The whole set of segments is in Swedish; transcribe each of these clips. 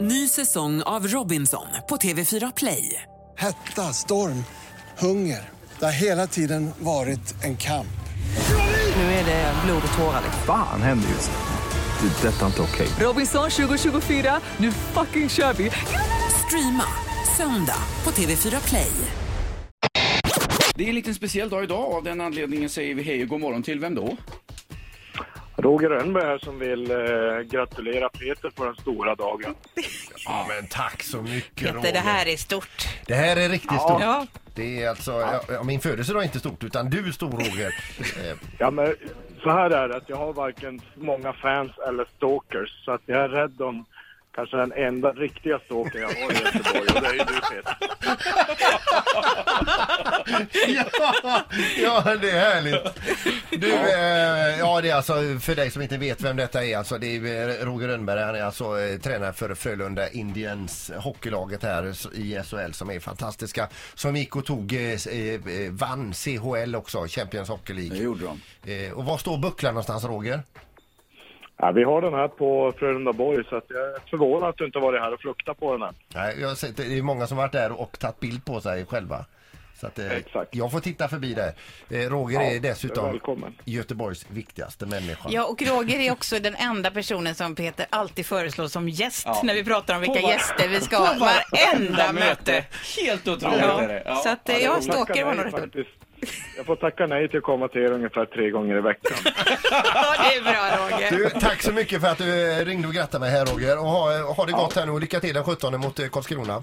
Ny säsong av Robinson på TV4 Play. Hetta, storm, hunger. Det har hela tiden varit en kamp. Nu är det blod och tårar. liksom. Fan händer just nu. Det. är Detta är inte okej. Robinson 2024, nu fucking kör vi! Streama söndag på TV4 Play. Det är en liten speciell dag idag. Av den anledningen säger vi hej och god morgon till vem då? Roger Rönnberg här som vill eh, gratulera Peter på den stora dagen. Ja, men tack så mycket Peter, Roger. det här är stort. Det här är riktigt stort. Ja. Det är alltså, ja, min födelsedag är inte stort utan du är stor Roger. Eh, Ja, men så här är det att jag har varken många fans eller stalkers så att jag är rädd om kanske den enda riktiga stalkern jag har i Göteborg och det är ju du Peter. ja, ja, det är härligt. Du, eh, ja det är alltså för dig som inte vet vem detta är alltså, det är eh, Roger Rönnberg, han är alltså eh, tränare för Frölunda Indians hockeylaget här s- i SHL som är fantastiska. Som gick och tog, eh, s- eh, eh, vann CHL också, Champions Hockey League. gjorde de. Eh, och var står bucklan någonstans Roger? Ja, vi har den här på Frölunda Borg så att jag är förvånad att du inte varit här och fluktat på den här. Nej, jag har sett, det är många som varit där och tagit bild på sig själva. Så att, eh, Exakt. Jag får titta förbi där. Eh, Roger är dessutom välkommen. Göteborgs viktigaste människa. Ja, och Roger är också den enda personen som Peter alltid föreslår som gäst Ja. när vi pratar om vilka På var- gäster vi ska ha. på Varenda möte. Helt otroligt är det. Ja. Så att eh, jag Tacka stalkar nej honom rätt upp. faktiskt. Jag får tacka nej till att komma till er ungefär tre gånger i veckan. Ja, det är bra Roger. Du, tack så mycket för att du eh, ringde och grattade mig här Roger. Och ha, ha det gott här nu och lycka till den 17 mot eh, Karlskrona.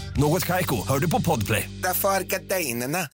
Något Kaiko, hör du på Podplay. Därför arkadeinerna.